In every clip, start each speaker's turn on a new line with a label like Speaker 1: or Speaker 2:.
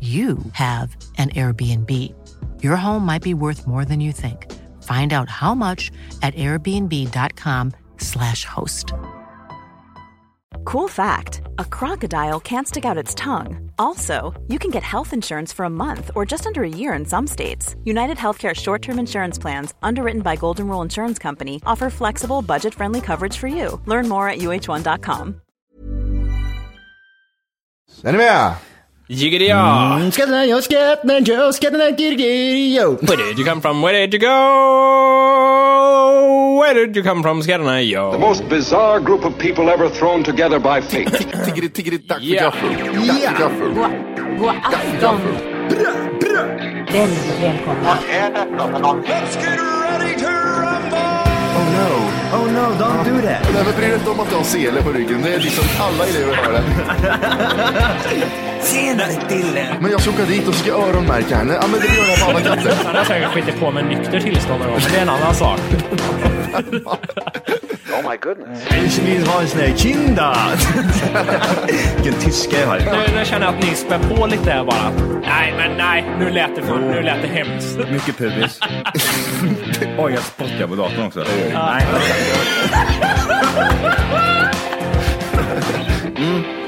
Speaker 1: you have an Airbnb. Your home might be worth more than you think. Find out how much at airbnb.com/slash host.
Speaker 2: Cool fact a crocodile can't stick out its tongue. Also, you can get health insurance for a month or just under a year in some states. United Healthcare short term insurance plans, underwritten by Golden Rule Insurance Company, offer flexible, budget friendly coverage for you. Learn more at uh1.com.
Speaker 3: Är ni med?
Speaker 4: Jiggedia!
Speaker 5: Mm, Skatterna, jag skattar, jag skattar, girgir,
Speaker 4: Where did you come from? Where did you go? Where did you come from? Skatterna,
Speaker 6: The
Speaker 4: yo.
Speaker 6: most bizarre group of people ever thrown together by fate.
Speaker 3: Tiggeri, tiggeri, tack för
Speaker 4: Yeah.
Speaker 3: gaffel. Tack för gaffel.
Speaker 5: Oh no, oh no, don't do that.
Speaker 3: Nej, men bry dig inte om att du har sele på ryggen. Det är liksom alla elever har det.
Speaker 5: Tjenare Dille!
Speaker 3: Men jag ska åka dit och ska öronmärka henne. Ja, men det gör jag på alla katter.
Speaker 7: Han har säkert skitit på med nykter tillstånd någon gång, men det är en annan sak.
Speaker 5: Ich vill ha en sån här kinda! Vilken tyska jag har.
Speaker 7: Nu, nu känner jag att ni spär på lite här bara. Nej, men nej. Nu lät det, för, nu lät det hemskt.
Speaker 8: Mycket pubis. Oj, jag spottar på datorn också. Nej.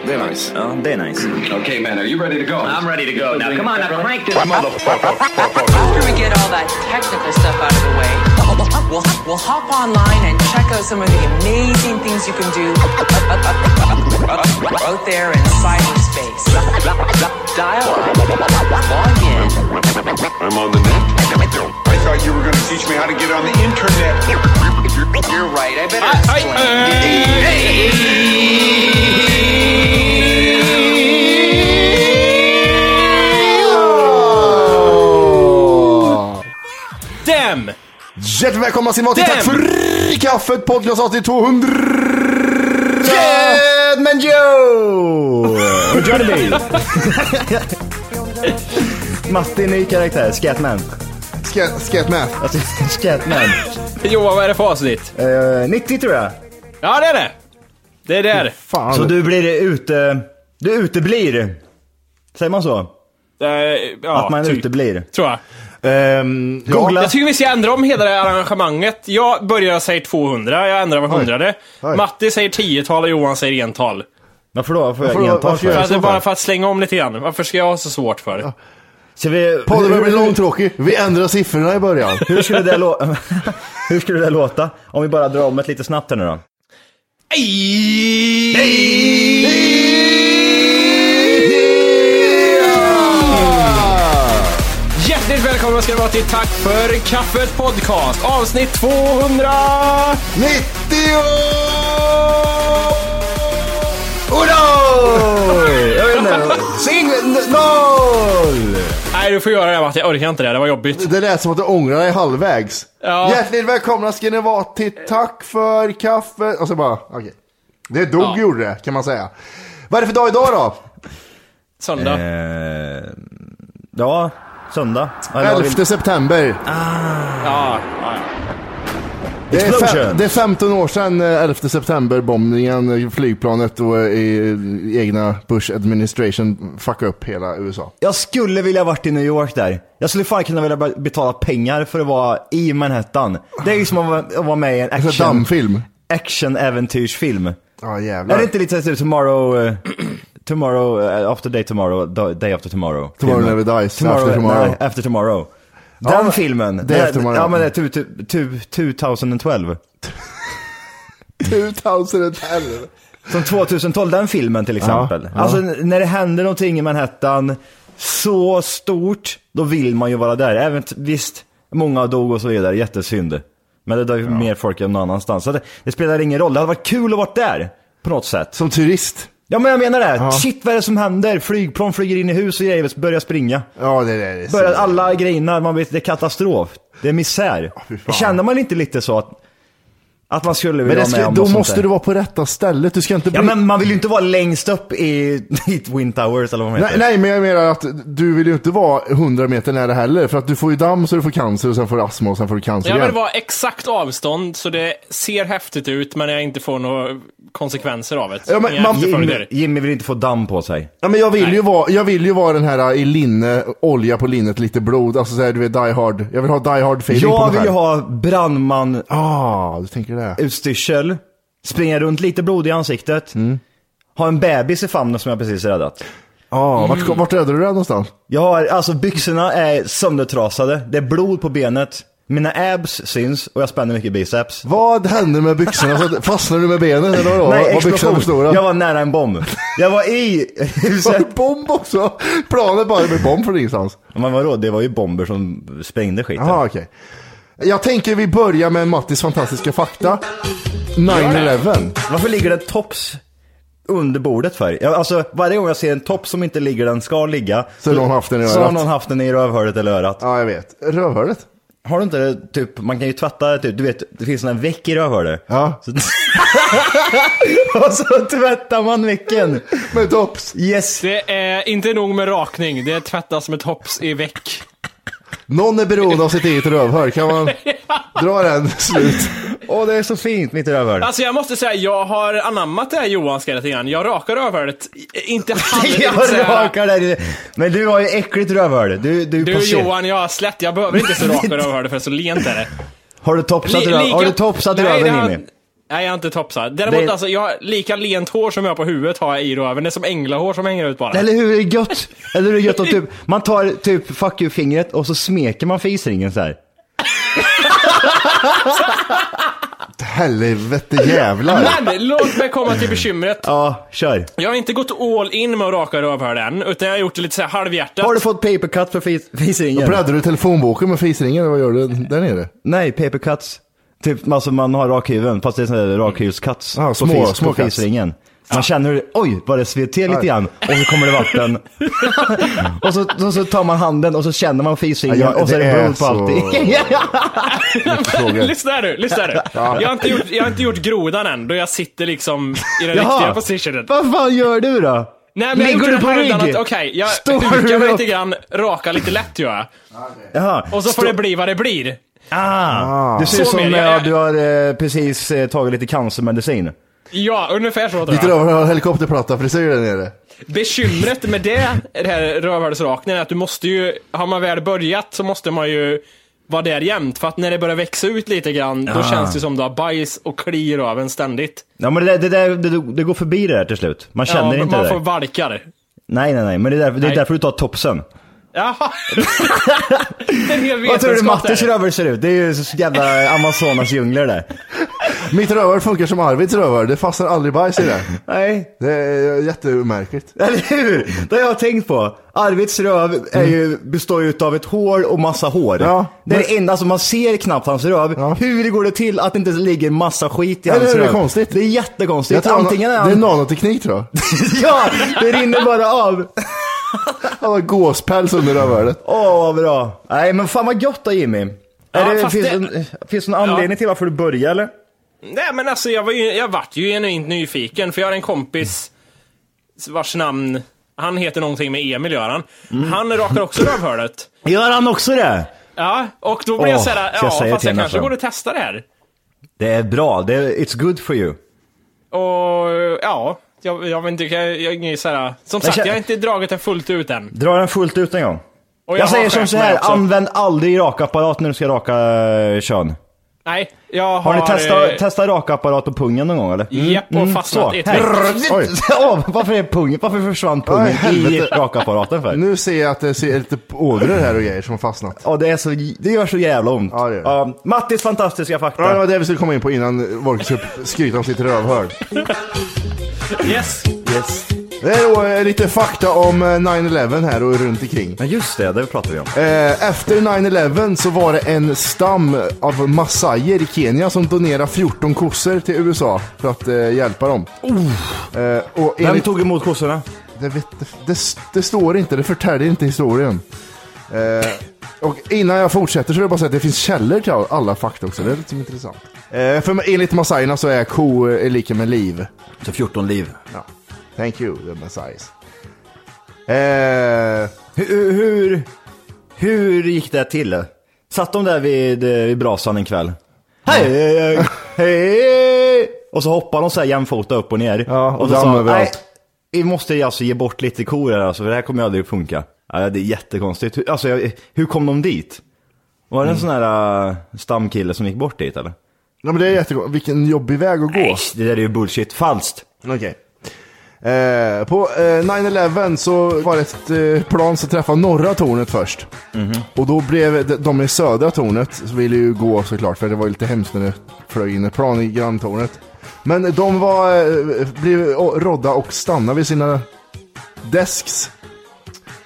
Speaker 3: Det är nice.
Speaker 8: Ja, det är nice.
Speaker 6: okay, man, are you ready to go?
Speaker 8: I'm ready to go now. Come on, now crank this
Speaker 9: After we get all that technical stuff out of the way, we'll, we'll hop online and check out some of the amazing things you can do out there in cyberspace. Dial up, log in.
Speaker 6: I'm on the net. I thought you were going to teach me how to get on the internet. You're right. I better explain.
Speaker 4: Dem!
Speaker 3: Hjärtligt välkomna ska ni vara till Tack för kaffet podcast avsnitt 200. Men Joe!
Speaker 5: Matti, ny karaktär, Scatman.
Speaker 3: Scat- Scatmath.
Speaker 5: Alltså, Scatman.
Speaker 4: Johan, vad är det för avsnitt?
Speaker 5: Eh, 90 tror jag.
Speaker 4: Ja, det är det! Det är där.
Speaker 3: Fan.
Speaker 5: Så du blir ute... Du uteblir. Säger man så?
Speaker 4: Eh, ja,
Speaker 5: Att man
Speaker 4: typ,
Speaker 5: uteblir.
Speaker 4: Tror jag.
Speaker 5: Ehm,
Speaker 3: Ja,
Speaker 5: googla.
Speaker 4: Jag tycker vi ska ändra om hela det här arrangemanget. Jag börjar säga 200, jag ändrar var hundrade.
Speaker 3: Oj.
Speaker 4: Matti säger tiotal och Johan säger ental.
Speaker 5: Varför då? Varför
Speaker 3: Varför då?
Speaker 5: ental
Speaker 3: Varför
Speaker 4: För
Speaker 3: gör
Speaker 5: för?
Speaker 4: att det är
Speaker 3: så
Speaker 4: bara
Speaker 3: fall.
Speaker 4: för att slänga om lite grann. Varför ska jag ha så svårt för?
Speaker 5: Ska vi...
Speaker 3: Podden börjar bli långtråkig. Vi ändrar siffrorna i början.
Speaker 5: Hur skulle, det lå- hur skulle det låta om vi bara drar om det lite snabbt här nu då?
Speaker 4: Ej!
Speaker 5: Ah.
Speaker 4: Hjärtligt välkomna ska ni vara till Tack för kaffet podcast avsnitt 200!
Speaker 3: 90!
Speaker 5: Oj, jag vet inte.
Speaker 3: Singel noll!
Speaker 4: Nej, du får göra det Matti. Jag orkar inte det. Det var jobbigt.
Speaker 3: Det lät som att du ångrar dig halvvägs.
Speaker 4: Ja.
Speaker 3: Hjärtligt välkomna ska ni vara till Tack för kaffe. Och så bara, okej. Det dog gjorde det, kan man säga. Vad är det för dag idag då?
Speaker 4: Söndag.
Speaker 5: Eh, Ja, söndag. Eller vad vill-
Speaker 3: 11 september.
Speaker 5: Ah.
Speaker 4: Ja, ja,
Speaker 3: Det är,
Speaker 5: Explosion.
Speaker 3: fem, det är 15 år sedan eh, 11 september bombningen, eh, flygplanet och eh, i, i egna Bush administration fuckade upp hela USA.
Speaker 5: Jag skulle vilja varit i New York där. Jag skulle fan kunna vilja be- betala pengar för att vara i Manhattan. Det är ju som att vara- att vara med i en
Speaker 3: Det är en
Speaker 5: action,
Speaker 3: dammfilm.
Speaker 5: action-äventyrsfilm.
Speaker 3: Ja
Speaker 5: Är
Speaker 3: jävlar.
Speaker 5: det inte lite så här, tomorrow, eh, tomorrow, eh, after day tomorrow, da- day after tomorrow?
Speaker 3: Tomorrow
Speaker 5: filmen?
Speaker 3: never dies, after tomorrow.
Speaker 5: Nej, after tomorrow. Den
Speaker 3: men-
Speaker 5: filmen.
Speaker 3: Day
Speaker 5: det är-
Speaker 3: After Tomorrow.
Speaker 5: Ja men det är tu- tu- tu- 2012.
Speaker 3: 2011.
Speaker 5: Som 2012, den filmen till exempel.
Speaker 3: ja.
Speaker 5: Alltså n- när det händer någonting i Manhattan så stort, då vill man ju vara där. Även t- visst, många dog och så vidare, jättesynd. Men det dör ju mer folk än någon annanstans. Så det, det spelar ingen roll, det hade varit kul att vara där. På något sätt.
Speaker 3: Som turist.
Speaker 5: Ja men jag menar det. Shit vad är det som händer? Flygplan flyger in i hus och grejer börjar springa.
Speaker 3: Ja, det där är så-
Speaker 5: Börjar alla grejerna, man vet det är katastrof. Det är misär.
Speaker 3: fy fan.
Speaker 5: Känner man inte lite så att, att man skulle vilja
Speaker 3: Men det
Speaker 5: vara med
Speaker 3: ska,
Speaker 5: om
Speaker 3: då
Speaker 5: något sånt
Speaker 3: måste
Speaker 5: där?
Speaker 3: du vara på rätta stället. Du ska inte
Speaker 5: Ja
Speaker 3: bli-
Speaker 5: men man vill ju inte vara längst upp i, i Twin Towers eller vad man
Speaker 3: Nej,
Speaker 5: heter.
Speaker 3: nej, men jag menar att du vill ju inte vara 100 meter nära heller, för att du får ju damm så du får cancer och sen får du astma och sen får du cancer
Speaker 4: Jag
Speaker 3: igen.
Speaker 4: vill vara exakt avstånd så det ser häftigt ut men jag inte får några konsekvenser av det.
Speaker 3: Ja, men
Speaker 4: Inga
Speaker 3: man-
Speaker 4: efterföljder.
Speaker 5: Jimmy, Jimmy vill inte få damm på sig.
Speaker 3: Ja, men jag, vill ju vara, jag vill ju vara den här äh, i linne, olja på linnet, lite blod. Alltså såhär, du vet, die hard. Jag vill ha die hard feeling på
Speaker 5: Jag
Speaker 3: mig
Speaker 5: vill ju
Speaker 3: själv.
Speaker 5: ha brandman
Speaker 3: Ah, du tänker det.
Speaker 5: utstyrsel, springa runt lite blod i ansiktet, ha en bebis i famnen som jag precis räddat.
Speaker 3: Ah, vart, vart räddade du det någonstans?
Speaker 5: Jag har, alltså byxorna är söndertrasade, det är blod på benet, mina abs syns och jag spänner mycket biceps.
Speaker 3: Vad hände med byxorna? Så att- Fastnade du med benen eller vadå? var, var byxorna för stora?
Speaker 5: Jag var nära en bomb. Jag var i
Speaker 3: Var
Speaker 5: huset.
Speaker 3: det bomb också? Planet bara med bomb från ingenstans.
Speaker 5: Men vadå, det var ju bomber som sprängde skiten.
Speaker 3: Jaha, okej. Jag tänker vi börjar med Mattis fantastiska fakta. 9-11.
Speaker 5: Varför ligger det en tops under bordet för? Jag, alltså varje gång jag ser en topp som inte ligger där den ska ligga.
Speaker 3: Så har någon haft den i
Speaker 5: Så har
Speaker 3: örat.
Speaker 5: någon haft den i rövhålet eller örat.
Speaker 3: Ja, jag vet. Rövhålet.
Speaker 5: Har du inte det, typ, man kan ju tvätta typ, du vet, det finns en väck i rövhålet.
Speaker 3: Ja.
Speaker 5: Så, och så tvättar man väcken.
Speaker 3: Med tops.
Speaker 5: Yes.
Speaker 4: Det är inte nog med rakning, det tvättas med tops i veck.
Speaker 3: Någon är beroende av sitt eget rövhör. Kan man dra den slut?
Speaker 5: Åh, det är så fint mitt rövhål.
Speaker 4: Alltså jag måste säga, jag har anammat det här Johanska lite grann. Jag rakar rövhålet, i- inte handen. det vill
Speaker 5: jag
Speaker 4: säga-
Speaker 5: rakar där i- Men du har ju äckligt rövhål. Du, du, är
Speaker 4: Du
Speaker 5: på se-
Speaker 4: Johan, jag har slätt. Jag behöver inte så raka rövhålet för så lent är det.
Speaker 5: Har du topsat,
Speaker 4: Li-
Speaker 5: röv,
Speaker 4: lika-
Speaker 5: har du topsat
Speaker 4: Nej, det
Speaker 5: röven
Speaker 4: har-
Speaker 5: Jimmy?
Speaker 4: Nej, jag har inte topsat. Däremot
Speaker 5: Det-
Speaker 4: alltså, jag har lika lent hår som jag har på huvudet har jag i röven. Det är som änglahår som hänger ut bara.
Speaker 5: Eller hur, det är gött. Eller hur, det är gött om typ, man tar typ fuck you-fingret och så smeker man fisringen så här.
Speaker 3: Helvete jävlar.
Speaker 4: Men låt mig komma till bekymret.
Speaker 5: Ja, kör.
Speaker 4: Jag har inte gått all in med att raka rövhål än, utan jag har gjort det lite så här halvhjärtat.
Speaker 5: Har du fått papercut för fis- fisringen?
Speaker 3: Bläddrar du i telefonboken med fisringen eller vad gör du där nere?
Speaker 5: Nej, paper cuts. Typ alltså man har rakhyveln, fast det är sån där rakhyvelscuts.
Speaker 3: Ja,
Speaker 5: på
Speaker 3: små-
Speaker 5: fis-
Speaker 3: små
Speaker 5: på
Speaker 3: cuts.
Speaker 5: fisringen. Man känner hur, oj, vad det sved till lite
Speaker 3: Aj.
Speaker 5: grann. Och så kommer det vatten. och så, och så tar man handen och så känner man fisringen
Speaker 3: Ja, jag-
Speaker 5: och så är
Speaker 3: det
Speaker 5: det
Speaker 3: är
Speaker 5: blod på
Speaker 3: så-
Speaker 5: allting.
Speaker 3: Fråga.
Speaker 4: lyssna här nu, lyssna här nu. Jag, har inte gjort, jag har inte gjort grodan än, då jag sitter liksom i den riktiga positionen.
Speaker 5: vad fan gör du då?
Speaker 4: Nej, men jag
Speaker 5: Ligger
Speaker 4: gjorde
Speaker 5: du på
Speaker 4: det här utan
Speaker 5: rygg?
Speaker 4: att- Okej, jag
Speaker 5: Står
Speaker 4: hukar
Speaker 5: du
Speaker 4: mig
Speaker 5: upp?
Speaker 4: lite grann, raka lite lätt gör jag.
Speaker 5: Jaha.
Speaker 4: Och så får det bli vad det blir.
Speaker 5: Ah, du ser ut
Speaker 4: Så
Speaker 5: som
Speaker 4: mer,
Speaker 5: eh,
Speaker 4: jag-
Speaker 5: du har eh, precis eh, tagit lite cancermedicin.
Speaker 4: Ja, ungefär så tror
Speaker 3: Ditt
Speaker 4: jag.
Speaker 3: rövhör har helikopterplatta frisyr där nere.
Speaker 4: Bekymret med det, det här rövhålsrakningen, är att du måste ju, har man väl börjat så måste man ju vara där jämt. För att när det börjar växa ut lite grann,
Speaker 5: Ah.
Speaker 4: då känns det som du har bajs och kli i röven ständigt.
Speaker 5: Ja men det, där- det, där- det, det går förbi det där till slut. Man känner
Speaker 4: men
Speaker 5: inte
Speaker 4: man
Speaker 5: det där.
Speaker 4: får valkar.
Speaker 5: Nej nej nej, men det är därför, det är
Speaker 4: Nej.
Speaker 5: därför du tar topsen.
Speaker 4: Jaha! det är en hel
Speaker 5: Vad tror du
Speaker 4: vetenskap
Speaker 5: Mattes
Speaker 4: där.
Speaker 5: röver ser ut? Det är ju så jävla Amazonas djungler där.
Speaker 3: Mitt rövhör funkar som Arvids rövhör. Det fastnar aldrig bajs i det.
Speaker 5: Nej.
Speaker 3: Det är eh, jättemärkligt.
Speaker 5: Eller hur? Det har jag tänkt på. Arvids röv är ju, består ju av ett hår och massa hår.
Speaker 3: Ja,
Speaker 5: det är
Speaker 3: men-
Speaker 5: det enda som man ser knappt hans röv.
Speaker 3: Ja.
Speaker 5: Hur går det till att det inte ligger massa skit i
Speaker 3: Eller
Speaker 5: hans
Speaker 3: hur?
Speaker 5: röv?
Speaker 3: Det är konstigt.
Speaker 5: Det är jättekonstigt. Antingen är
Speaker 3: han... Det är
Speaker 5: han...
Speaker 3: nanoteknik tror jag.
Speaker 5: ja, det rinner bara av.
Speaker 3: Han har gåspäls under rövhålet.
Speaker 5: Åh, vad bra. Nej, men fan vad gött då Jimmy.
Speaker 4: Ja,
Speaker 5: är det,
Speaker 4: fast
Speaker 5: finns,
Speaker 4: det-
Speaker 5: En, finns det någon anledning till varför du började eller?
Speaker 4: Nej men alltså jag, var ju, jag vart ju genuint nyfiken för jag har en kompis vars namn, han heter någonting med Emil gör han.
Speaker 5: Mm.
Speaker 4: Han rakar också rövhålet.
Speaker 5: Gör han också det?
Speaker 4: Ja, och då blev jag
Speaker 5: Åh,
Speaker 4: såhär,
Speaker 5: ska
Speaker 4: ja
Speaker 5: jag säga
Speaker 4: fast
Speaker 5: till
Speaker 4: jag
Speaker 5: henne
Speaker 4: kanske
Speaker 5: sen?
Speaker 4: borde testa det här.
Speaker 5: Det är bra. Det är, it's good for you.
Speaker 4: Och ja, jag, jag vet inte, jag, jag, är ingen så här, som sagt
Speaker 5: känner-
Speaker 4: jag har inte dragit det fullt ut än.
Speaker 5: Dra den fullt ut en gång.
Speaker 4: Och
Speaker 5: Jag,
Speaker 4: har
Speaker 5: säger som
Speaker 4: skämt
Speaker 5: så
Speaker 4: mig
Speaker 5: här,
Speaker 4: också.
Speaker 5: använd aldrig rakapparat när du ska raka eh, kön.
Speaker 4: Nej, jag har...
Speaker 5: Har ni testat, Mm,
Speaker 4: eh,
Speaker 5: testat rakapparat på pungen någon gång eller?
Speaker 4: Japp, och fastnat i ett
Speaker 5: här.
Speaker 3: Oj.
Speaker 5: Åh, varför, är pungen, varför försvann
Speaker 3: Aj,
Speaker 5: pungen i
Speaker 3: helvete.
Speaker 5: rakapparaten för?
Speaker 3: Nu ser jag att det ser lite ådror här och grejer som har fastnat.
Speaker 5: Ja, det, är så, det gör så jävla ont.
Speaker 3: Ja, det gör det.
Speaker 5: Mattis fantastiska fakta.
Speaker 3: Ja, det var det vi skulle komma in på innan Wolkers skryter om sitt rövhål.
Speaker 4: Yes!
Speaker 3: Yes. Det är då eh, lite fakta om eh, 9-11 här och runt omkring.
Speaker 5: Men just det, det pratar vi om.
Speaker 3: Eh, Efter 9-11 så var det en stam av massajer i Kenya som donerade 14 kossor till USA för att eh, hjälpa dem. Eh, och
Speaker 5: Oh. Vem
Speaker 3: enligt,
Speaker 5: tog emot kossorna?
Speaker 3: det, vet, det, det står inte, det förtäljer inte historien. Eh, och innan jag fortsätter så vill jag bara säga att det finns källor till alla fakta också, det är lite intressant. Eh, för enligt massajerna så är ko eh, lika med liv.
Speaker 5: Så 14 liv.
Speaker 3: Ja. Thank you, the messiahs. Eh,
Speaker 5: Hur, hur, hur gick det till? Satt de där vid, eh, vid brasan en kväll? Hej! hej, Hej! Och så hoppar de så här jämfota upp och ner.
Speaker 3: Ja, och
Speaker 5: och så
Speaker 3: damm
Speaker 5: sa de,
Speaker 3: överallt.
Speaker 5: nej, vi måste alltså ge bort lite kor här alltså, för det här kommer ju aldrig att funka. Ja, det är jättekonstigt. Hur, alltså, jag, hur kom de dit? Var
Speaker 3: Mm.
Speaker 5: det en sån här eh, stamkille som gick bort dit eller?
Speaker 3: ja, men det är jättegott. Vilken jobbig väg att gå.
Speaker 5: Äsch, det där är ju bullshit. Falskt.
Speaker 3: Okej. Eh, på eh, 9-11 så var det ett eh, plan som träffade norra tornet först. Och då blev de, de i södra tornet, så ville ju gå såklart, för det var ju lite hemskt när det flög in ett plan i granntornet. Men de var, eh, blev å- rådda och stannade vid sina desks.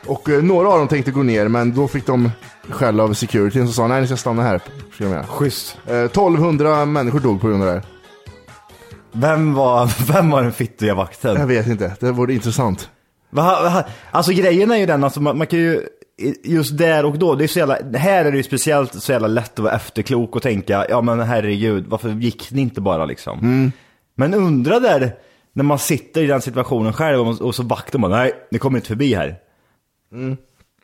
Speaker 3: Och eh, några av dem tänkte gå ner, men då fick de skäll av securityn som sa nej, ni ska stanna här. Ska jag mena.
Speaker 5: Schysst.
Speaker 3: Eh, 1200 människor dog på grund av det här.
Speaker 5: Vem var, vem var den fittiga vakten?
Speaker 3: Jag vet inte, det vore intressant.
Speaker 5: Va, va, alltså grejen är ju den, alltså, man, man kan ju, just där och då, det är så jävla, här är det ju speciellt så jävla lätt att vara efterklok och tänka, ja men herregud, varför gick ni inte bara liksom?
Speaker 3: Mm.
Speaker 5: Men undra där, när man sitter i den situationen själv och, och så vakten bara, nej, ni kommer inte förbi här.
Speaker 3: Mm.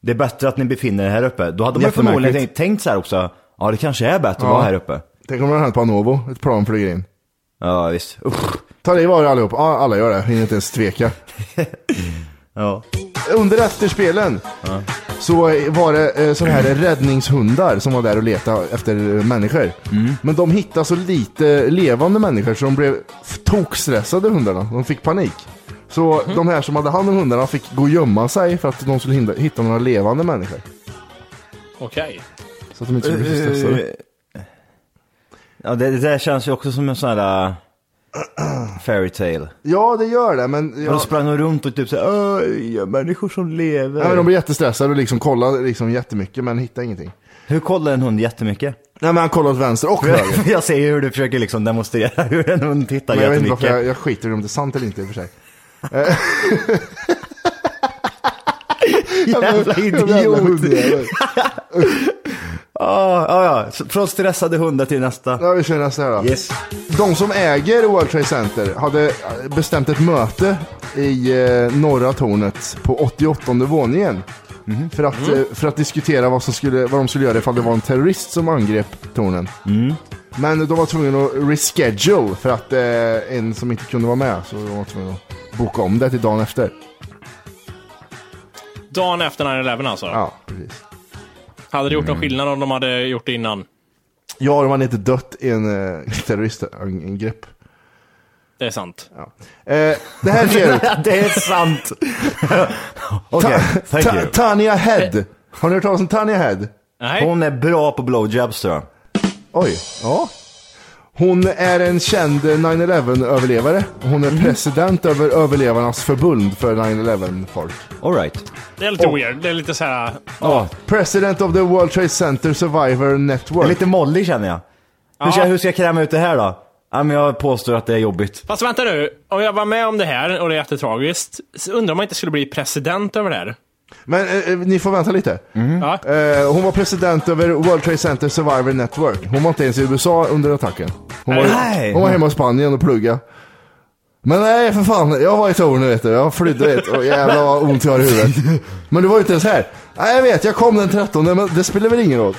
Speaker 5: Det är bättre att ni befinner er här uppe. Då hade man
Speaker 3: Jättemärkligt.
Speaker 5: förmodligen tänkt, tänkt så här också, ja det kanske är bättre
Speaker 3: Ja.
Speaker 5: att vara här uppe.
Speaker 3: Tänk om det hade hänt på Anovo, ett plan flyger in.
Speaker 5: Ja visst, Uff.
Speaker 3: Ta liv av er allihop, Ja, alla gör det, hinner inte ens tveka.
Speaker 5: Ja.
Speaker 3: Under efterspelen så var det eh, sådana här räddningshundar som var där och letade efter eh, människor. Men de hittade så lite levande människor så de blev f- tokstressade hundarna, de fick panik. Så de här som hade hand om hundarna fick gå och gömma sig för att de skulle hinda, hitta några levande människor.
Speaker 4: Okej.
Speaker 3: Så att de inte skulle bli så stressade.
Speaker 5: Eh, Ja det, det där känns ju också som en sån här äh, fairy tale.
Speaker 3: Ja, det gör det, men...
Speaker 5: Ja.
Speaker 3: Ja,
Speaker 5: De sprang de runt och typ såhär, "Öj, människor som lever.
Speaker 3: ja, men de blev jättestressade och liksom kollade liksom jättemycket men hittade ingenting.
Speaker 5: Hur kollar en hund jättemycket?
Speaker 3: Nej, men han kollade åt vänster och höger.
Speaker 5: jag ser ju hur du försöker liksom demonstrera hur en hund tittar
Speaker 3: Men jag vet inte
Speaker 5: jättemycket.
Speaker 3: varför jag, jag skiter i om det är sant eller inte i och för sig. Eh.
Speaker 5: Jävla
Speaker 3: Jävla
Speaker 5: idiot!
Speaker 3: hundjävel.
Speaker 5: Ja, ja, Ah, ja. Så Från stressade hundar till nästa.
Speaker 3: Ja, vi kör nästa här då.
Speaker 5: Yes.
Speaker 3: De som äger World Trade Center hade bestämt ett möte i eh, norra tornet på 88 våningen. För, att, eh, för att diskutera vad, som skulle, vad de skulle göra ifall det var en terrorist som angrep tornen. Men de var tvungna att reschedule för att eh, en som inte kunde vara med så de var tvungna att boka om det till dagen efter.
Speaker 4: Dagen efter 9-11 alltså.
Speaker 3: Ja, precis.
Speaker 4: Hade det gjort någon skillnad om de hade gjort det innan?
Speaker 3: Ja, de hade inte dött i en eh, terroristangrepp.
Speaker 4: Det är sant.
Speaker 3: Eh, det här ser ut.
Speaker 5: det är sant! Okej,
Speaker 3: Ta-
Speaker 5: thank
Speaker 3: Ta-
Speaker 5: you.
Speaker 3: Tanya Head. Har ni hört talas om Tanya Head?
Speaker 4: Nej.
Speaker 5: Hon är bra på blowjobs tror jag.
Speaker 3: Oj. Ja. Hon är en känd 9-11-överlevare. Hon är president över överlevarnas förbund för 9-11-folk.
Speaker 5: Alright.
Speaker 4: Det är lite weird. Det är lite så här...
Speaker 5: Ja.
Speaker 3: President of the World Trade Center Survivor
Speaker 5: Ah, Jag är
Speaker 3: Network.
Speaker 5: lite mollig känner jag. Hur ska, hur ska jag kräma ut det här då? Ja, men jag påstår att det är jobbigt.
Speaker 4: Fast vänta nu. Om jag var med om det här och det är jättetragiskt. Så undrar om man inte skulle bli president över det här.
Speaker 3: Men eh, eh, ni får vänta lite.
Speaker 5: Mm.
Speaker 4: Ja.
Speaker 3: Eh, hon var president över World Trade Center Survivor Network. Hon var inte ens i USA under attacken. Hon var,
Speaker 5: Nej.
Speaker 3: hon var hemma i Spanien och plugga. Men nej för fan, jag var i tornet vet du. Jag flydde vet och jävlar vad ont jag har i huvudet. Men du var ju inte ens här. Nej jag vet, jag kom den 13 men det spelar väl ingen roll.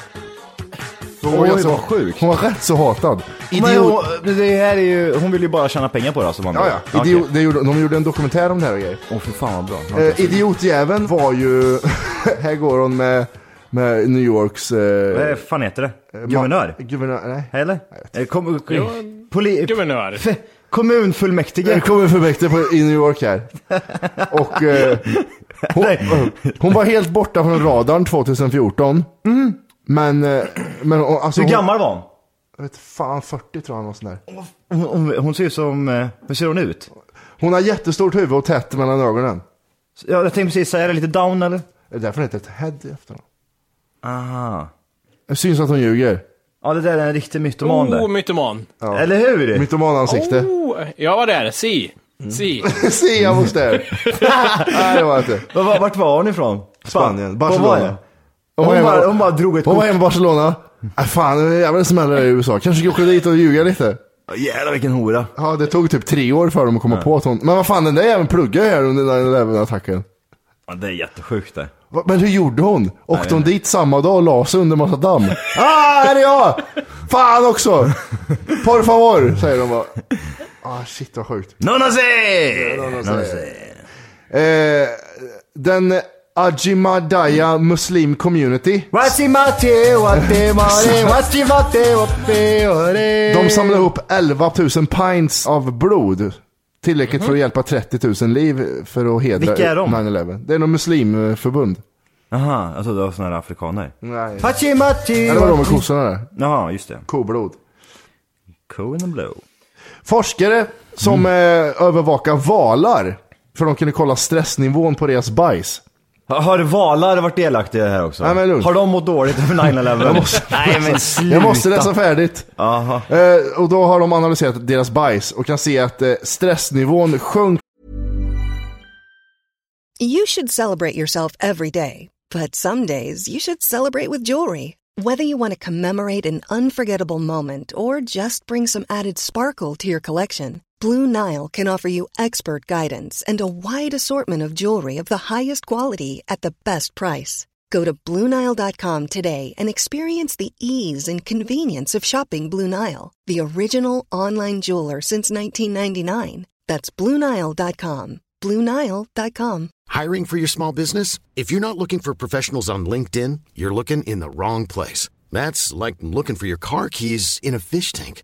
Speaker 3: Hon var,
Speaker 5: Oj,
Speaker 3: ganska-
Speaker 5: vad sjukt.
Speaker 3: Hon var rätt så hatad.
Speaker 5: Men hon, det här är ju, hon vill ju bara tjäna pengar på det alltså. man
Speaker 3: Ja, ja.
Speaker 5: Okej.
Speaker 3: Idiot, det gjorde, de gjorde en dokumentär om det här och grejer.
Speaker 5: Åh oh, för fan vad bra. Okej.
Speaker 3: Eh, idiotjäveln var ju, här går hon med, med New Yorks... eh,
Speaker 5: Vad fan heter det? Guvernör?
Speaker 3: Guvernör, nej.
Speaker 5: Eller? Eh, Kom, poli,
Speaker 4: Guvernör.
Speaker 5: f- kommunfullmäktige?
Speaker 3: Det kommer fullmäktige på- i New York här. Och eh, hon, hon var helt borta från radarn 2014. Men, eh, men hon- alltså,
Speaker 5: Mm. Hur
Speaker 3: hon-
Speaker 5: gammal var hon?
Speaker 3: Jag vet fan, 40 tror jag han var sån där.
Speaker 5: Hon, hon, hon ser ju som, eh, hur ser hon ut?
Speaker 3: Hon har jättestort huvud och tätt mellan ögonen.
Speaker 5: Ja, jag tänkte precis säga det, lite down eller?
Speaker 3: Det är därför det heter ett head i efternamn.
Speaker 5: Aha.
Speaker 3: Det syns att hon ljuger.
Speaker 5: Ja, det där är en riktig mytoman
Speaker 7: Oh,
Speaker 5: där.
Speaker 7: mytoman.
Speaker 5: Eller hur?
Speaker 3: Mytomanansikte.
Speaker 7: Oh, jag var där. Si. Si.
Speaker 3: Se, jag var där. Nej, det var jag inte.
Speaker 5: Vad- vad- Vart var hon ifrån?
Speaker 3: Spanien,
Speaker 5: Vad var
Speaker 3: Barcelona.
Speaker 5: det? Hon
Speaker 3: hemma-
Speaker 5: bara, hon bara drog ett
Speaker 3: Hon
Speaker 5: kort.
Speaker 3: var hemma i Barcelona. Ah, fan, det är jävla smäller i USA. Kanske ska jag åka dit och ljuga lite.
Speaker 5: Jävlar vilken hora.
Speaker 3: Ja, det tog typ tre år för dem att komma på att hon... Men vad fan, den där jäveln pluggade här under 9-11-attacken.
Speaker 5: Ja, det är jättesjukt det.
Speaker 3: Va- Men hur gjorde hon? Åkte hon dit samma dag och la sig under massa damm? ah, här är jag! Fan också! Por favor, säger de bara. Ah, shit vad sjukt.
Speaker 5: Nona se!
Speaker 3: Nona Eh, den Ajimadaya Muslim Community.
Speaker 5: Wasimate, watemare, wasimate, wapeore.
Speaker 3: De samlar ihop 11 000 pints av blod. Tillräckligt för att hjälpa 30 000 liv för att hedra
Speaker 5: Vilka är de?
Speaker 3: 9-11. Det är något muslimförbund.
Speaker 5: Jaha, jag trodde alltså, det var såna här afrikaner.
Speaker 3: Nej.
Speaker 5: Fatimati,
Speaker 3: Eller var de med kossorna där?
Speaker 5: Jaha, just det.
Speaker 3: Koblod.
Speaker 5: Cool and blow.
Speaker 3: Forskare
Speaker 5: Mm.
Speaker 3: som eh, övervakar valar. För de kunde kolla stressnivån på deras bajs.
Speaker 5: Har, har valar varit delaktiga i det här också?
Speaker 3: Nej, men lugn.
Speaker 5: har de mått dåligt över 9-11? Nej men sluta.
Speaker 3: Jag måste läsa färdigt.
Speaker 5: Jaha.
Speaker 3: Eh, och då har de analyserat deras bajs och kan se att eh, stressnivån sjönk
Speaker 10: You should celebrate yourself every day, but some days you should celebrate with jewelry. Whether you want to commemorate an unforgettable moment or just bring some added sparkle to your collection, Blue Nile can offer you expert guidance and a wide assortment of jewelry of the highest quality at the best price. Go to BlueNile.com today and experience the ease and convenience of shopping Blue Nile, the original online jeweler since 1999. That's BlueNile.com. BlueNile.com.
Speaker 4: Hiring for your small business? If you're not looking for professionals on LinkedIn, you're looking in the wrong place. That's like looking for your car keys in a fish tank.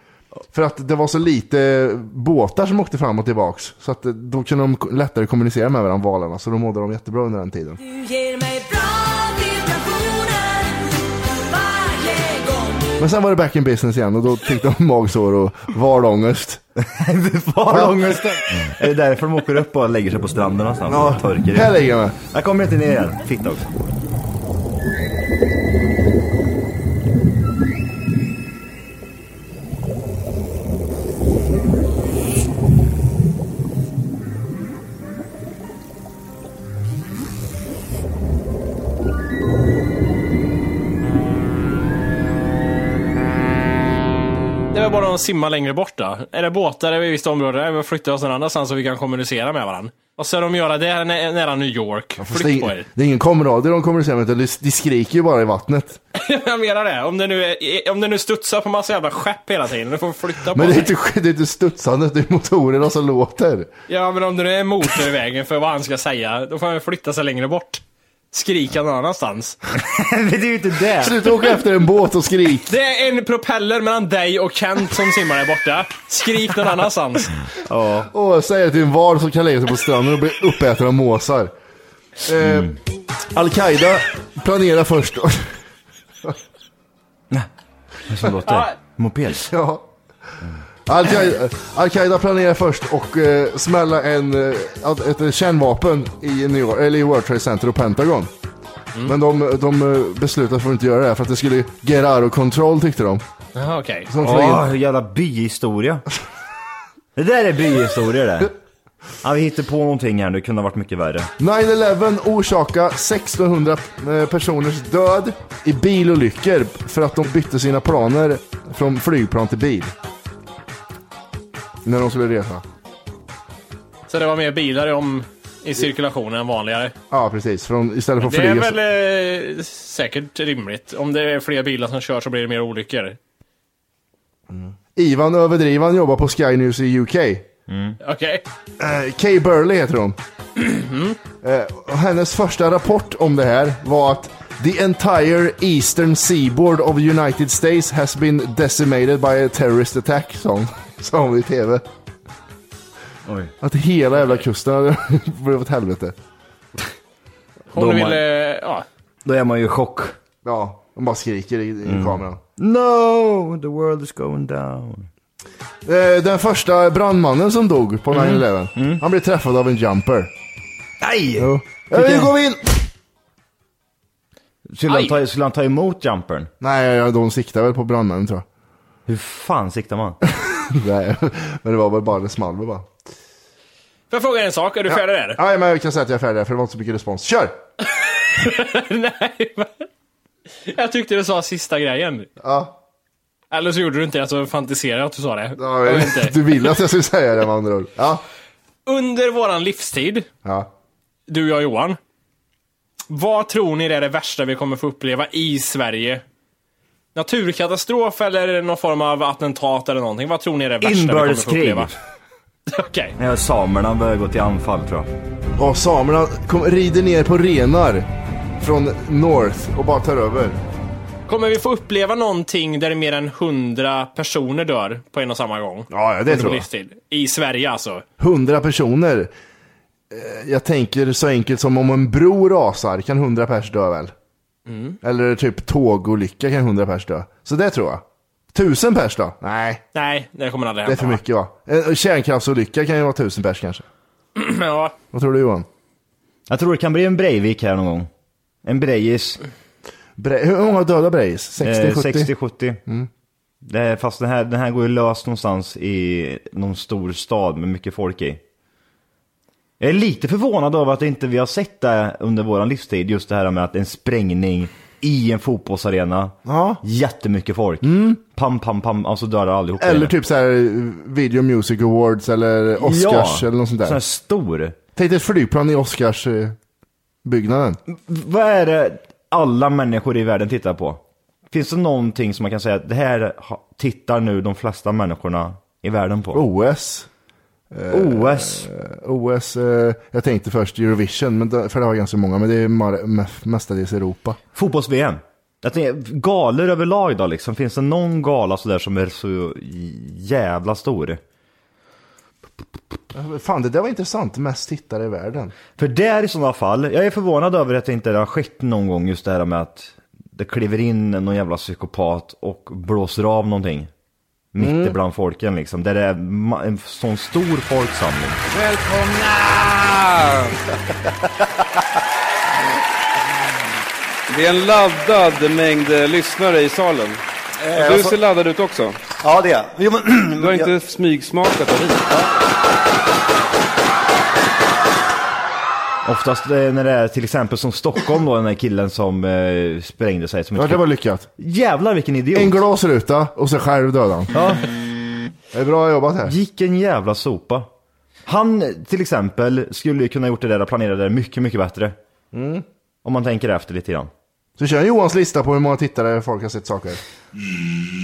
Speaker 3: För att det var så lite båtar som åkte fram och tillbaks. Så att eh, då kunde de k- lättare kommunicera med varandra, valarna. Så då mådde de jättebra under den tiden.
Speaker 11: Du ger mig bra vibrationer varje gång
Speaker 3: Men sen var det back in business igen och då fick de magsår och valångest.
Speaker 5: Valångesten. är det därför de åker upp och lägger sig på stranden någonstans och torkar
Speaker 3: Här
Speaker 5: ut?
Speaker 3: ligger jag med.
Speaker 5: Jag kommer inte ner igen. Fitta också.
Speaker 7: Det var bara att simma längre bort då. Är det båtar över ett visst område, ja, men flytta oss någon annanstans så vi kan kommunicera med varandra. Och så de göra det här nä- nära New York.
Speaker 3: Fast det,
Speaker 7: Flytt på
Speaker 3: är,
Speaker 7: er.
Speaker 3: det är ingen komradio de kommunicerar med, utan de de skriker ju bara i vattnet.
Speaker 7: Jag menar det. Om det, nu är, om det nu studsar på massa jävla skepp hela tiden, då får vi flytta på
Speaker 3: Men det är typ-
Speaker 7: sig.
Speaker 3: inte, det är inte studsandet, det är motorerna som låter.
Speaker 7: Ja, men om det nu är motor i vägen för vad han ska säga, då får han flytta sig längre bort. Skrika någon annanstans.
Speaker 5: Men det är ju inte det.
Speaker 3: Sluta åka efter en båt och skrik.
Speaker 7: Det är en propeller mellan dig och Kent som simmar där borta. Skrik någon annanstans.
Speaker 3: Och säger till en val som kan lägga sig på stranden och bli uppäten av måsar. Eh, Al-Qaida planerar först.
Speaker 5: Det som låter. Moped.
Speaker 3: ja. Al-Qaida, Al-Qaida planerar först och eh, smälla en, eh, ett, ett kärnvapen i, New York, eller i World Trade Center och Pentagon. Men de, de eh, beslutade för att inte göra det här för att det skulle get out of control tyckte de.
Speaker 7: Jaha, okej.
Speaker 3: De flög in-
Speaker 5: Åh, hur jävla byhistoria. Det där är byhistoria det. Ja, vi hittar på någonting här nu, kunde ha varit mycket värre.
Speaker 3: 9-11 orsakade 1600 eh, personers död i bilolyckor för att de bytte sina planer från flygplan till bil. När de skulle resa.
Speaker 7: Så det var mer bilar i om, i cirkulationen än vanligare.
Speaker 3: Ja, precis. Från, istället för att
Speaker 7: Det är
Speaker 3: flyga. så-
Speaker 7: väl eh, säkert rimligt. Om det är fler bilar som kör så blir det mer olyckor.
Speaker 3: Ivan Överdrivan jobbar på Sky News i UK.
Speaker 4: Okej.
Speaker 3: Eh, Kay Burley heter hon.
Speaker 7: Mhm.
Speaker 3: Eh, och hennes första rapport om det här var att The entire eastern seaboard of United States has been decimated by a terrorist attack, sa hon, sa hon i tv.
Speaker 5: Oj.
Speaker 3: Att hela jävla kusten hade blivit åt helvete.
Speaker 4: Hon
Speaker 5: Då
Speaker 4: ville...
Speaker 7: eh,
Speaker 5: Då är man ju i chock.
Speaker 3: Ja, hon bara skriker i, i kameran.
Speaker 5: No, the world is going down.
Speaker 3: Eh, den första brandmannen som dog på 9-11, han blev träffad av en jumper.
Speaker 5: Nej!
Speaker 3: Jo. Ja, nu går vi in!
Speaker 5: Skulle han,
Speaker 4: Aj.
Speaker 5: ta, skulle han ta emot jumpern?
Speaker 3: Nej, ja, de siktar väl på brandmännen tror jag.
Speaker 5: Hur fan siktar man?
Speaker 3: Nej, men det var väl bara det small väl bara.
Speaker 4: Får jag fråga en sak? Är du färdig där?
Speaker 3: Ja, men jag kan säga att jag är färdig där, för det var inte så mycket respons. Kör!
Speaker 4: Nej, va? Jag tyckte du sa sista grejen.
Speaker 3: Ja.
Speaker 4: Eller så gjorde du inte det, så fantiserade jag att du sa det.
Speaker 3: Ja,
Speaker 4: Jag
Speaker 3: men-
Speaker 4: vet inte.
Speaker 3: du ville att jag skulle säga det med andra ord. Ja.
Speaker 4: Under våran livstid,
Speaker 3: ja.
Speaker 4: du, jag och Johan. Vad tror ni är det värsta vi kommer få uppleva i Sverige? Naturkatastrof eller någon form av attentat eller någonting? Vad tror ni är det värsta vi kommer få
Speaker 5: Inbördeskrig.
Speaker 4: uppleva? Okej.
Speaker 5: När samerna börjar gå till anfall tror jag.
Speaker 3: Och samerna kom, rider ner på renar från North och bara tar över.
Speaker 4: Kommer vi få uppleva någonting där mer än 100 personer dör på en och samma gång?
Speaker 3: Ja, ja, det
Speaker 4: Under
Speaker 3: tror
Speaker 4: vår
Speaker 3: jag.
Speaker 4: livstid? I Sverige alltså.
Speaker 3: Hundra personer. Eh, Jag tänker så enkelt som om en bro rasar kan hundra pers dö väl? Eller typ tågolycka kan hundra pers dö. Så det tror jag. Tusen pers då? Nej,
Speaker 4: Nej, det kommer
Speaker 3: det
Speaker 4: aldrig
Speaker 3: är
Speaker 4: hända.
Speaker 3: för mycket va? En kärnkraftsolycka kan ju vara tusen pers kanske.
Speaker 4: mycket. ja.
Speaker 3: Vad tror du Johan?
Speaker 5: Jag tror det kan bli en Breivik här någon gång. En Breijis.
Speaker 3: Bre- Hur många döda Brejs? 60, 70?
Speaker 5: 60-70. Eh,
Speaker 3: Mm.
Speaker 5: Det är- Fast den här, den här går ju lös någonstans i någon stor stad med mycket folk i. Jag är lite förvånad över att inte vi har sett det under våran livstid. Just det här med att en sprängning i en fotbollsarena.
Speaker 3: Ja. Mm.
Speaker 5: Jättemycket folk. Pam, pam, pam. Alltså dör allihopa.
Speaker 3: Eller typ så här Video Music Awards eller Oscars eller något sånt
Speaker 5: Sån här
Speaker 3: där.
Speaker 5: stor.
Speaker 3: Tänk dig ett flygplan i eh, Oscarsbyggnaden.
Speaker 5: Vad är det alla människor i världen tittar på? Finns det någonting som man kan säga att det här ha- tittar nu de flesta människorna i världen på?
Speaker 3: OS.
Speaker 5: OS.
Speaker 3: Eh, OS, eh, jag tänkte först Eurovision, men det, för det var ganska många, men det är mar- me- mestadels Europa.
Speaker 5: Fotbolls-VM. Jag tänker, galor överlag då liksom. Finns det någon gala sådär som är så jävla stor?
Speaker 3: Fan, det där var intressant. Mest tittare i världen.
Speaker 5: För där i sådana fall, jag är förvånad över att det inte har skett någon gång just det här med att det kliver in någon jävla psykopat och blåser av någonting. Mitt
Speaker 3: Mm.
Speaker 5: ibland folken liksom. Där det är ma- en sån stor folksamling.
Speaker 6: Välkomna! Det är en laddad mängd eh, lyssnare i salen. Och Du
Speaker 12: alltså-
Speaker 6: ser laddad ut också.
Speaker 12: Ja, det är jo, men,
Speaker 6: Du har inte smygsmakat av vin.
Speaker 5: Oftast eh, när det är till exempel som Stockholm då, den här killen som eh, sprängde sig. Som
Speaker 3: Ja,
Speaker 5: inte-
Speaker 3: det var lyckat.
Speaker 5: Jävlar vilken idiot!
Speaker 3: En glasruta och så själv döda han.
Speaker 5: Ja.
Speaker 3: Det är bra jobbat här.
Speaker 5: Gick en jävla sopa. Han till exempel skulle ju kunna gjort det där och planerat det där mycket, mycket bättre. Mm. Om man tänker efter lite grann.
Speaker 3: Så kör Johans lista på hur många tittare folk har sett saker.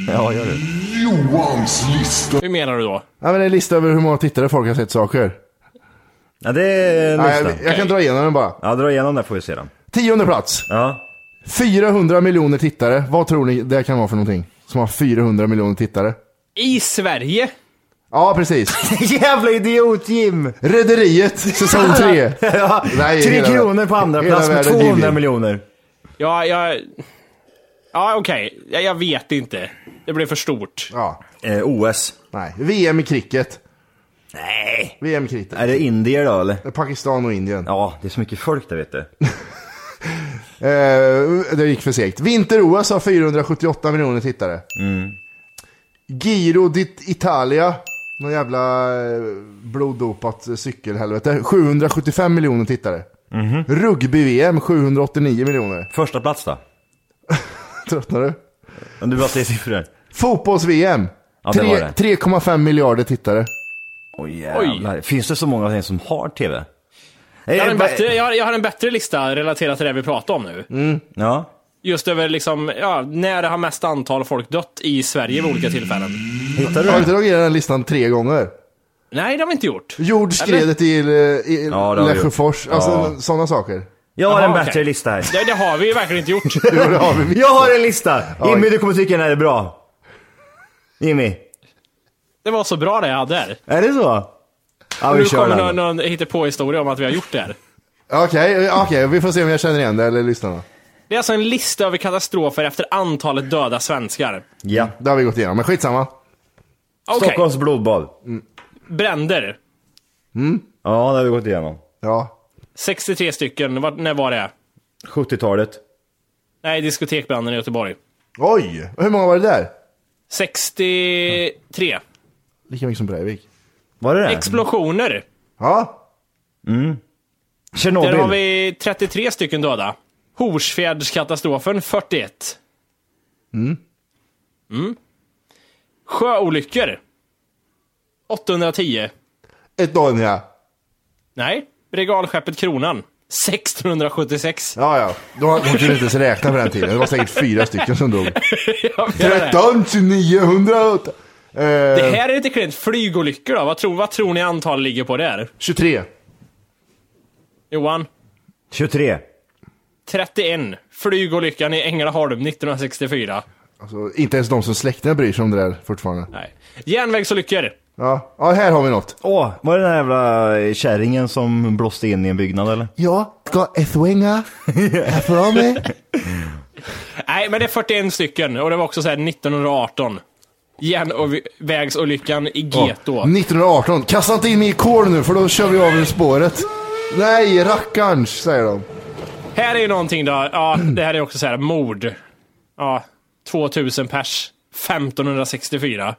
Speaker 5: Ja, gör det.
Speaker 4: Hur menar du då?
Speaker 3: Ja, men det är en lista över hur många tittare folk har sett saker.
Speaker 5: Ja, det är en
Speaker 3: Nej,
Speaker 5: lista.
Speaker 3: jag, jag kan dra igenom den bara.
Speaker 5: Ja, dra igenom där får vi se den.
Speaker 3: Tionde plats.
Speaker 5: Ja.
Speaker 3: 400 miljoner tittare. Vad tror ni det kan vara för någonting? Som har 400 miljoner tittare.
Speaker 4: I Sverige?
Speaker 3: Ja, precis.
Speaker 5: jävla idiot Jim!
Speaker 3: Rederiet, säsong 3.
Speaker 5: Ja,
Speaker 3: Nej,
Speaker 5: tre
Speaker 3: hela-
Speaker 5: kronor på andra
Speaker 3: hela
Speaker 5: plats med
Speaker 3: världen
Speaker 5: 200
Speaker 3: divig.
Speaker 5: miljoner.
Speaker 4: Ja, jag... Ja, okej. Jag, jag vet inte. Det blev för stort.
Speaker 3: Ja,
Speaker 5: Eh, OS.
Speaker 3: nej. VM i cricket.
Speaker 5: Nej.
Speaker 3: VM i cricket. Eh,
Speaker 5: Är det indier då eller?
Speaker 3: Pakistan och Indien.
Speaker 5: Ja, det är så mycket folk där vet du.
Speaker 3: Eh, det gick för segt. Vinter-OS har 478 miljoner tittare.
Speaker 5: Mm.
Speaker 3: Giro d'Italia. Någon jävla eh, bloddopat eh, cykelhelvete. 775 miljoner tittare.
Speaker 5: Mhm.
Speaker 3: Rugby-VM 789 miljoner.
Speaker 5: Första plats då?
Speaker 3: Tröttnar du?
Speaker 5: Om du bara säger siffror.
Speaker 3: Fotbolls-VM.
Speaker 5: Ja, det var
Speaker 3: Tre-
Speaker 5: det.
Speaker 3: 3,5 miljarder tittare.
Speaker 5: Oj jävlar. Finns det så många som har TV?
Speaker 4: Jag har, en
Speaker 5: Eh, vad-
Speaker 4: bättre, jag, har, jag har en bättre lista relaterat till det vi pratar om nu.
Speaker 5: Ja.
Speaker 4: Just över liksom, ja, när det har mest antal folk dött i Sverige vid olika tillfällen.
Speaker 5: Hittar du
Speaker 3: Har du
Speaker 5: det?
Speaker 3: inte dragit den här listan tre gånger?
Speaker 4: Nej, det har vi inte gjort.
Speaker 3: Jordskredet i, eh, i
Speaker 5: Ja, det har vi
Speaker 3: Lesjöfors.
Speaker 5: gjort.
Speaker 3: Alltså
Speaker 5: Ja.
Speaker 3: sådana saker.
Speaker 5: Jag har
Speaker 4: Jaha,
Speaker 5: en bättre
Speaker 4: okej.
Speaker 5: lista här.
Speaker 4: Nej, det har vi ju verkligen inte gjort.
Speaker 5: Jag har en lista!
Speaker 4: Oj.
Speaker 5: Jimmy, du kommer tycka den här är bra. Jimmy,
Speaker 4: Det var så bra det jag hade här.
Speaker 5: är det så? Ja,
Speaker 4: nu
Speaker 5: vi kör
Speaker 4: kommer någon,
Speaker 5: den.
Speaker 4: någon hittepåhistoria om att vi har gjort det här.
Speaker 3: Okej, okej. Vi får se om jag känner igen det eller lyssnarna.
Speaker 4: Det är alltså en lista över katastrofer efter antalet döda svenskar.
Speaker 5: Ja.
Speaker 3: Det har vi gått igenom, men skitsamma.
Speaker 4: Okej,
Speaker 5: Stockholms blodbad.
Speaker 4: bränder.
Speaker 5: Ja, det har vi gått igenom.
Speaker 3: Ja.
Speaker 4: 63 stycken. Var, när var det?
Speaker 5: 70-talet.
Speaker 4: Nej, diskotekbranden i Göteborg.
Speaker 3: Oj! Hur många var det där?
Speaker 4: 63.
Speaker 5: Mm.
Speaker 3: Lika mycket som Breivik.
Speaker 5: Var det det?
Speaker 4: Explosioner.
Speaker 3: Ja.
Speaker 5: Mm.
Speaker 4: Där har
Speaker 5: Tjernobyl.
Speaker 4: vi 33 stycken döda. Horsfjärdskatastrofen 41.
Speaker 3: Mm.
Speaker 4: Mm. Sjöolyckor. 810.
Speaker 3: 100.
Speaker 4: Nej, regalskeppet Kronan. 1676.
Speaker 3: Ja, ja. De hade- de kunde inte ens räkna på den tiden. Det var säkert fyra stycken som dog.
Speaker 4: Jag menar det.
Speaker 3: 13 908. Eh,
Speaker 4: Det här är lite klent. Flygolyckor då? Vad tror, vad tror ni antal ligger på där?
Speaker 3: 23.
Speaker 4: Johan?
Speaker 5: 23.
Speaker 4: 31. Flygolyckan i Ängelholm 1964.
Speaker 3: Alltså, inte ens de som släkterna bryr sig om det där fortfarande.
Speaker 4: Nej. Järnvägsolyckor.
Speaker 3: Ja, ja här har vi något.
Speaker 5: Åh, var det den här jävla eh, kärringen som blåste in i en byggnad eller?
Speaker 3: Jag ska svänga härifrån mig.
Speaker 4: Nej, men det är 41 stycken och det var också så här 1918. Järnvägsolyckan i Geto.
Speaker 3: 1918. Kasta inte in mig i kol nu för då kör vi av ur spåret. Nej, rackarns, säger de.
Speaker 4: Här är ju någonting då. Ja, det här är också så här mord. Ja, 2000 pers. 1564.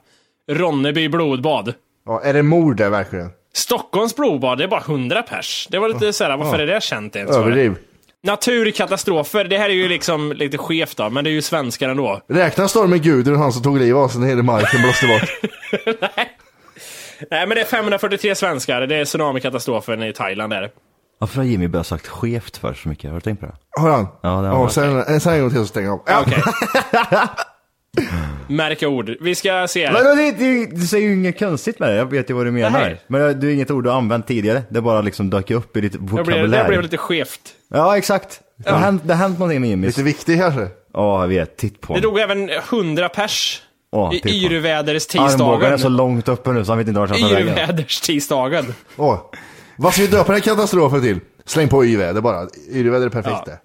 Speaker 4: Ronneby blodbad.
Speaker 3: Ja, är det mord där verkligen?
Speaker 4: Stockholms blodbad, det är bara 100 pers. Det var lite så här, varför är det känt ens? för?
Speaker 3: Överdriv.
Speaker 4: Naturkatastrofer, det här är ju liksom lite skevt då, men det är ju svenskar ändå.
Speaker 3: Räknas stormen Gudrun, han som tog livet av sig när hela marken blåste bort?
Speaker 4: Nej, men det är 543 svenskar. Det är tsunamikatastrofen i Thailand där.
Speaker 5: Varför har Jimmy börjat sagt skevt för så mycket? Har du tänkt på det?
Speaker 3: Har han?
Speaker 5: Ja, det har
Speaker 3: Ja,
Speaker 5: han.
Speaker 3: sen, eh, sen en gång till så stänger jag av. Ja,
Speaker 4: Okej. Märk ord. Vi ska se
Speaker 5: Men
Speaker 4: här.
Speaker 5: det, det, det, du säger ju inget konstigt med det, jag vet ju vad du menar.
Speaker 4: Nej.
Speaker 5: Men eh, det är inget ord du har använt tidigare, det bara liksom dök upp i ditt
Speaker 4: Jag blev, jag
Speaker 5: vokabulär.
Speaker 4: blev lite skevt.
Speaker 5: Ja, exakt. Det har hänt, det har hänt någonting med Jimmy. Lite
Speaker 3: viktig kanske?
Speaker 5: Ja, jag vet. Titt på
Speaker 4: Det
Speaker 5: honom.
Speaker 4: dog även 100 pers
Speaker 5: Åh, titta.
Speaker 4: i Yrväders
Speaker 5: Armbågen är så
Speaker 4: tisdagen.
Speaker 5: långt uppe nu så han vet inte vart han tar vägen.
Speaker 4: Yrväders tisdagen.
Speaker 3: Åh. Vad ska vi döpa den här katastrofen till? Släng på yväder bara. Yväder är perfekt det.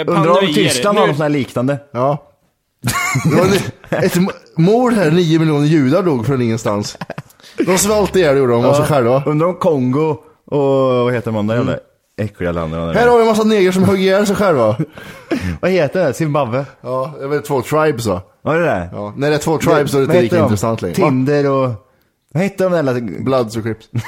Speaker 4: Eh,
Speaker 5: Undrar om Tyskland har något sånt
Speaker 4: pandemier.
Speaker 5: här liknande.
Speaker 3: Ja. Det var li- ett m- mord här, nio miljoner judar dog från ingenstans. De svalt ihjäl gjorde de, och så själva.
Speaker 5: Undrar om Kongo och vad heter de andra jävla äckliga länderna?
Speaker 3: Mm. Här har vi en massa neger som högg ihjäl sig själva.
Speaker 5: Vad heter det? Zimbabwe?
Speaker 3: Ja, det är väl två tribes va?
Speaker 5: Var det det?
Speaker 3: Ja, när det är två tribes så är det inte
Speaker 5: Vad heter
Speaker 3: lika
Speaker 5: de?
Speaker 3: intressant längre. Va?
Speaker 5: Tinder och... Vad heter de där jävla-
Speaker 3: Bloods och Crips.
Speaker 4: Eh,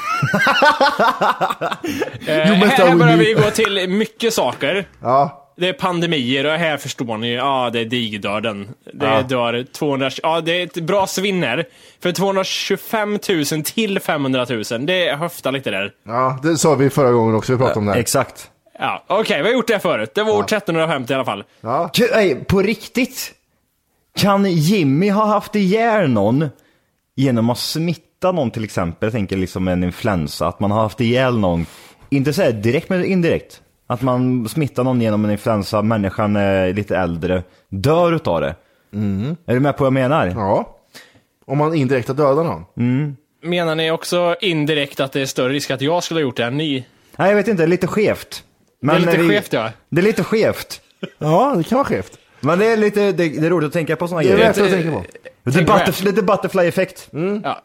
Speaker 3: men
Speaker 4: här
Speaker 3: då-
Speaker 4: börjar vi gå till mycket saker.
Speaker 3: Ja,
Speaker 4: Det är pandemier och här förstår ni ju, ja det är digerdöden. Det dör 200, ja det är ett bra svinn här. För 225 000 till 500 000, det är höfta lite där.
Speaker 3: ja, det sa vi förra gången också, vi pratade
Speaker 5: Eh,
Speaker 3: om det här.
Speaker 5: Exakt.
Speaker 4: Ja, Okej, vi har gjort det här förut. Det var år 1350 i alla fall.
Speaker 3: Ja.
Speaker 5: K- nej, på riktigt? Kan Jimmy ha haft ihjäl någon genom att smitta någon till exempel? Jag tänker liksom en influensa, att man har haft ihjäl någon. Inte så här direkt men indirekt. Att man smittar någon genom en influensa, människan är lite äldre, dör utav det. Är du med på vad jag menar?
Speaker 3: Ja. Om man indirekt har dödat någon.
Speaker 4: Menar ni också indirekt att det är större risk att jag skulle ha gjort det än ni?
Speaker 5: Nej jag vet inte, lite skevt. Men
Speaker 4: det är lite
Speaker 5: vi-
Speaker 4: skevt ja.
Speaker 5: Det är lite skevt.
Speaker 3: Ja, det kan vara skevt.
Speaker 5: Men det är lite, det, det är roligt att tänka på sådana
Speaker 3: Det är
Speaker 5: grejer.
Speaker 3: värt att tänka på.
Speaker 5: Lite, butterf- lite butterfly-effekt.
Speaker 4: ja.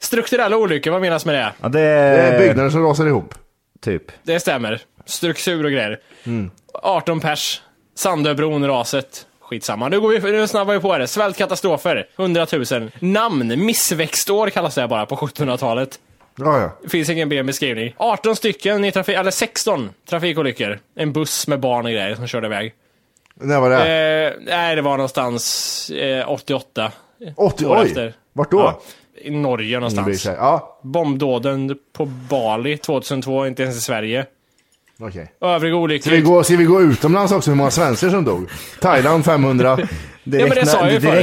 Speaker 4: Strukturella olyckor, vad menas med det?
Speaker 5: Ja, det
Speaker 3: Det
Speaker 5: är...
Speaker 3: är Eh, byggnader som rasar ihop.
Speaker 5: Typ.
Speaker 4: Det stämmer. Struktur och grejer. 18 pers. Sandöbron, raset. Skitsamma. Nu, går vi, nu snabbar vi på det. Svältkatastrofer. 100 000. Namn. Missväxtår kallas det bara på 1700-talet.
Speaker 3: Ja, ja.
Speaker 4: Det finns ingen ben beskrivning. 18 stycken, i trafi- eller 16 trafikolyckor. En buss med barn och grejer som körde iväg.
Speaker 3: När var det? här?
Speaker 4: Eh, nej, det var någonstans eh, 88.
Speaker 3: 80,
Speaker 4: år
Speaker 3: oj.
Speaker 4: efter.
Speaker 3: Vart då?
Speaker 4: Ja, I Norge
Speaker 3: Ingen bryr
Speaker 4: någonstans.
Speaker 3: sig. Ja,
Speaker 4: Bombdåden på Bali 2002, inte ens i Sverige.
Speaker 3: Okej.
Speaker 7: Övriga
Speaker 3: Ska vi,
Speaker 7: olyckligt.
Speaker 3: gå, ska vi gå utomlands också, hur många svenskar som dog? Thailand 500.
Speaker 5: Direkt när- Direkt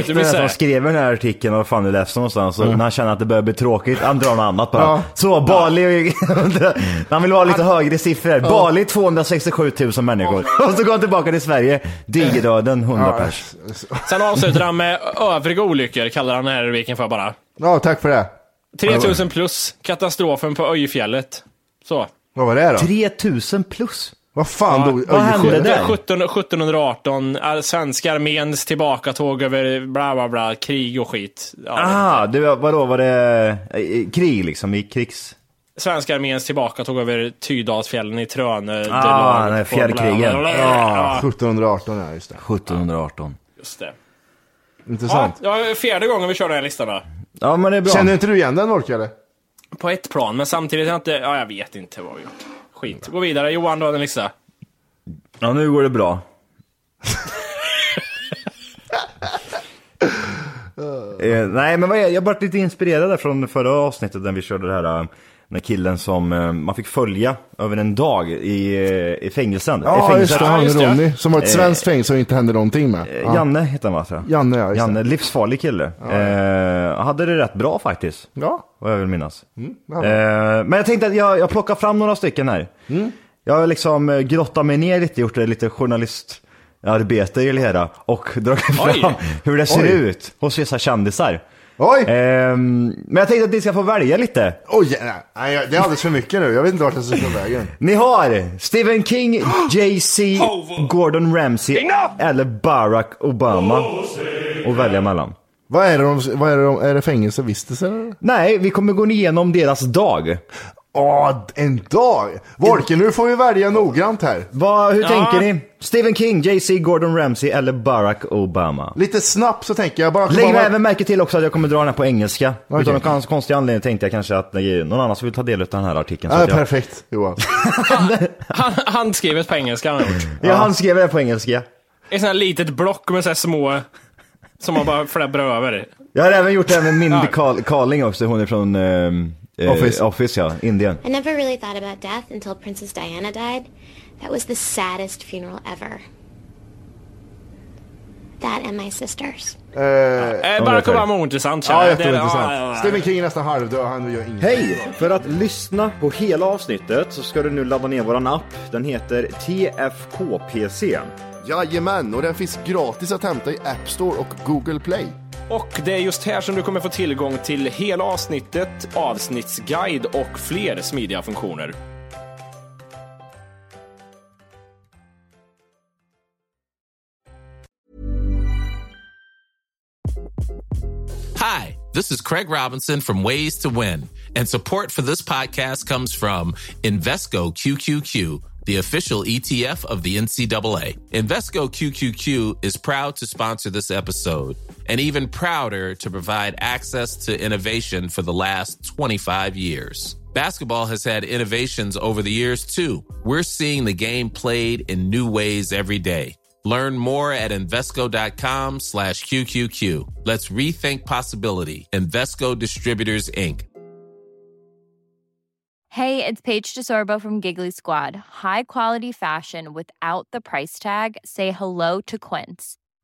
Speaker 5: när den
Speaker 3: säga.
Speaker 5: som skrev den här artikeln, vad fan du läste någonstans, och
Speaker 3: Mm.
Speaker 5: när han känner att det börjar bli tråkigt, han drar något annat bara.
Speaker 3: Ja.
Speaker 5: Så, Bali, han vill ha lite högre siffror.
Speaker 3: Ja.
Speaker 5: Bali 267 000 människor. Och så går han tillbaka till Sverige, digerdöden 100 pers.
Speaker 7: Sen avslutar han med övriga olyckor, kallar han den här rubriken för bara.
Speaker 3: Ja, tack för det.
Speaker 7: 3000 plus, katastrofen på Öjefjället. Så.
Speaker 3: Vad var det då?
Speaker 5: 3000 plus?
Speaker 3: Vad fan dog
Speaker 7: Vad hände
Speaker 3: Öjersjö?
Speaker 7: där? 17, 1718, all- svenska arméns tillbakatåg över bla bla bla, krig och skit. Ja,
Speaker 5: Ah, du, vadå, var det eh, i krig liksom? I krigs...
Speaker 7: Svenska arméns tillbakatåg över Tydalsfjällen i Trönö.
Speaker 5: Ah,
Speaker 7: Delag
Speaker 5: den
Speaker 7: och bla, bla, bla,
Speaker 5: här fjällkrigen.
Speaker 7: bla,
Speaker 5: Ah.
Speaker 7: bla, bla.
Speaker 3: Ja,
Speaker 7: Ja,
Speaker 3: 1718 ja, just det.
Speaker 5: 1718.
Speaker 7: just det. Ja,
Speaker 3: Intressant.
Speaker 7: det var fjärde gången vi kör den här listan då.
Speaker 5: Ja, men det är bra.
Speaker 3: Känner inte du igen den Orka eller?
Speaker 7: På ett plan, men samtidigt har jag inte... Ja, jag vet inte vad vi gjort. Skit. Gå vidare. Johan, du hade en lista.
Speaker 5: Ja, nu går det bra. eh, nej, men vad är, jag blev lite inspirerad där från förra avsnittet när vi körde det här eh, den killen som eh, man fick följa över en dag i, eh, i fängelsen. I
Speaker 3: Ja,
Speaker 5: fängelset.
Speaker 3: just det. Han Ronny, som var ett svenskt
Speaker 5: Eh,
Speaker 3: fängelse och inte hände någonting med.
Speaker 5: eh,
Speaker 3: Ja.
Speaker 5: Janne hette han va? tror jag.
Speaker 3: Janne, ja, just
Speaker 5: Janne, livsfarlig kille. Eh, hade det rätt bra faktiskt.
Speaker 3: Ja.
Speaker 5: Vad jag vill minnas.
Speaker 3: ja.
Speaker 5: Eh, men jag tänkte att jag, jag plockar fram några stycken här. Jag har liksom eh, grottat mig ner lite, gjort lite journalistarbete i det hela och dragit
Speaker 7: Oj.
Speaker 5: fram hur det ser
Speaker 3: Oj.
Speaker 5: ut hos vissa kändisar.
Speaker 3: Oj!
Speaker 5: Eh, men jag tänkte att ni ska få välja lite.
Speaker 3: Oj, nej, nej, jag- det är alldeles för mycket nu. Jag vet inte vart jag ska ta vägen.
Speaker 5: Ni har Stephen King, Jay-Z, Gordon Ramsay eller Barack Obama att välja mellan.
Speaker 3: Vad är det de, vad är det de, är det fängelse, vistelse eller?
Speaker 5: Nej, vi kommer gå igenom deras dag.
Speaker 3: Åh, en dag! Volke, nu får vi välja noggrant här.
Speaker 5: Vad, hur
Speaker 3: Ja.
Speaker 5: tänker ni? Stephen King, Jay-Z, Gordon Ramsay eller Barack Obama?
Speaker 3: Lite snabbt så tänker jag bara...
Speaker 5: Lägg
Speaker 3: bara-
Speaker 5: även märke till också att jag kommer dra den här på engelska.
Speaker 3: Okej.
Speaker 5: Utan någon kons- konstig anledning tänkte jag kanske att det är någon annan som vill ta del av den här artikeln. så
Speaker 3: Ja,
Speaker 5: att jag...
Speaker 3: perfekt Johan.
Speaker 7: Han, handskrivet på engelska har han gjort.
Speaker 3: Mm.
Speaker 5: Ja, han skrev det på engelska.
Speaker 7: Ett sånt här litet block med så här små... Som man bara fläbbar över. Eh,
Speaker 5: Jag har även gjort det med Mindy
Speaker 7: Ja.
Speaker 5: Carl- Carling också, hon är från ehm, eh,
Speaker 3: Office.
Speaker 5: Office ja, Indien.
Speaker 13: I never really thought about death until Princess Diana died. That was the saddest funeral ever. That and my sister's.
Speaker 3: Eh,
Speaker 7: Eh, Barack Obama är ointressant. känner
Speaker 3: Ja,
Speaker 7: jag. Det är-
Speaker 3: jätteintressant.
Speaker 7: ja, ja, ja.
Speaker 3: Stephen King är nästan halvdöd, han gör ingenting.
Speaker 5: Hej! För att lyssna på hela avsnittet så ska du nu ladda ner våran app. Den heter TFKPC.
Speaker 3: Jajamän, och den finns gratis att hämta i App Store och Google Play.
Speaker 7: Och det är just här som du kommer få tillgång till hela avsnittet, avsnittsguide och fler smidiga funktioner.
Speaker 14: Hi, this is Craig Robinson from Ways to Win, and support for this podcast comes from Invesco QQQ, the official ETF of the NCAA. Invesco QQQ is proud to sponsor this episode and even prouder to provide access to innovation for the last 25 years. Basketball has had innovations over the years, too. We're seeing the game played in new ways every day. Learn more at Invesco.com slash QQQ. Let's rethink possibility. Invesco Distributors, Inc.
Speaker 4: Hey, it's Paige DeSorbo from Giggly Squad. High quality fashion without the price tag. Say hello to Quince.